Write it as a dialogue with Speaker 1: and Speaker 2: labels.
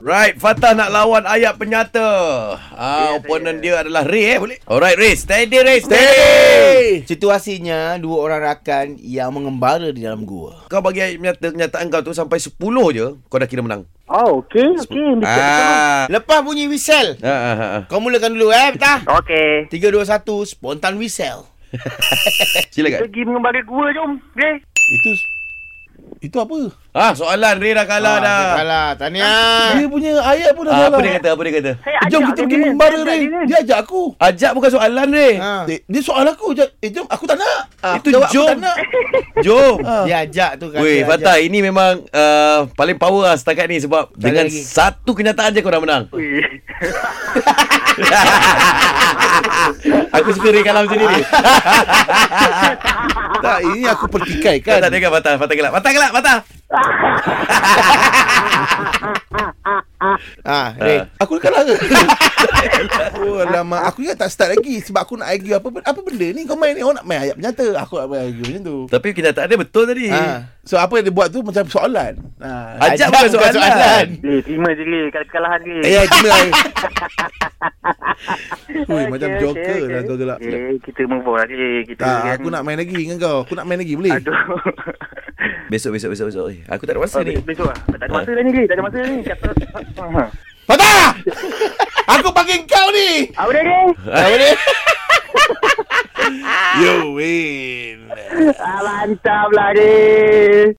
Speaker 1: Right, Fatah nak lawan ayat penyata. Ah,
Speaker 2: Ya,
Speaker 1: opponent dia
Speaker 2: saya.
Speaker 1: adalah Ray eh, boleh? Alright, Ray. Steady, Ray. Steady.
Speaker 3: Hey! Situasinya dua orang rakan yang mengembara di dalam gua.
Speaker 1: Kau bagi ayat penyata, kenyataan kau tu sampai 10 je, kau dah kira menang.
Speaker 2: Oh, okey, okey.
Speaker 1: Ah.
Speaker 3: Lepas bunyi whistle.
Speaker 1: Ah, ah, ah, ah.
Speaker 3: Kau mulakan dulu eh, Betah.
Speaker 2: Okey.
Speaker 3: 3 2 1 spontan whistle.
Speaker 1: Silakan.
Speaker 2: Pergi mengembara gua jom. Okey.
Speaker 4: Itu itu apa?
Speaker 1: Ah, soalan Ray dah kalah dah.
Speaker 3: Ah, dia Kalah. Tahniah.
Speaker 4: Dia punya ayat pun dah
Speaker 1: Ah, apa
Speaker 4: salah.
Speaker 1: dia kata? Apa dia kata?
Speaker 2: Saya
Speaker 4: Jom
Speaker 2: ajak
Speaker 4: kita
Speaker 2: dia
Speaker 4: pergi
Speaker 2: ni,
Speaker 4: membara
Speaker 2: saya
Speaker 4: Ray.
Speaker 2: ajak ni. Ah.
Speaker 4: Dia ajak aku.
Speaker 1: Ajak bukan soalan Ray.
Speaker 3: Ha.
Speaker 4: Dia, dia soal aku. Jom, eh, jom aku tak nak. Ah,
Speaker 1: Itu
Speaker 4: aku jawab
Speaker 1: jom.
Speaker 4: Aku tak nak.
Speaker 1: Jom.
Speaker 4: Ah.
Speaker 3: Dia ajak tu kata.
Speaker 1: Weh,
Speaker 3: ajak.
Speaker 1: Fatah, ini memang uh, paling power lah setakat ni sebab
Speaker 3: Tak ada
Speaker 1: dengan
Speaker 3: lagi.
Speaker 1: satu kenyataan je kau dah menang.
Speaker 2: Ui.
Speaker 1: Aku suka Ray kalau macam ni. Ray.
Speaker 4: tak, ini aku pertikai
Speaker 1: Kan
Speaker 4: kan.
Speaker 1: tak dengar patah, patah gelap. Patah gelap, patah.
Speaker 3: Ah, Ray.
Speaker 1: Eh,
Speaker 4: Aku dah kalah ke? oh, lama. Aku ingat tak start lagi sebab aku nak argue apa apa benda ni. Kau main ni orang nak main ayat penyata. Aku nak main argue macam tu.
Speaker 1: Tapi kenyataan dia betul tadi.
Speaker 4: Ha. So apa yang dia buat tu macam soalan. Ha.
Speaker 1: Ajak
Speaker 3: Ah. Ajak
Speaker 1: bukan
Speaker 3: bukan
Speaker 1: soalan.
Speaker 3: soalan.
Speaker 2: Eh, terima je ni kalau kekalahan ni.
Speaker 4: Eh, ya, cuma lah. Ui,
Speaker 2: Okey,
Speaker 4: macam
Speaker 2: okey,
Speaker 4: joker
Speaker 2: okey.
Speaker 4: lah kau gelap.
Speaker 2: Eh, kita move on lagi. Kita
Speaker 4: Tak,
Speaker 2: kan.
Speaker 4: aku nak main lagi dengan kau. Aku nak main lagi, boleh?
Speaker 2: Aduh.
Speaker 1: Besok, besok, besok, besok. Eh, aku tak ada masa
Speaker 2: Oh,
Speaker 1: ni.
Speaker 2: besok, besok lah. Tak ada
Speaker 4: Ah.
Speaker 2: masa dah ni, Ray. Tak ada masa dah ni. Kata. Ha.
Speaker 4: Patah! aku panggil kau ni!
Speaker 2: Apa dia ni?
Speaker 4: Apa ni? You win.
Speaker 2: Ah, mantap lah, Ray.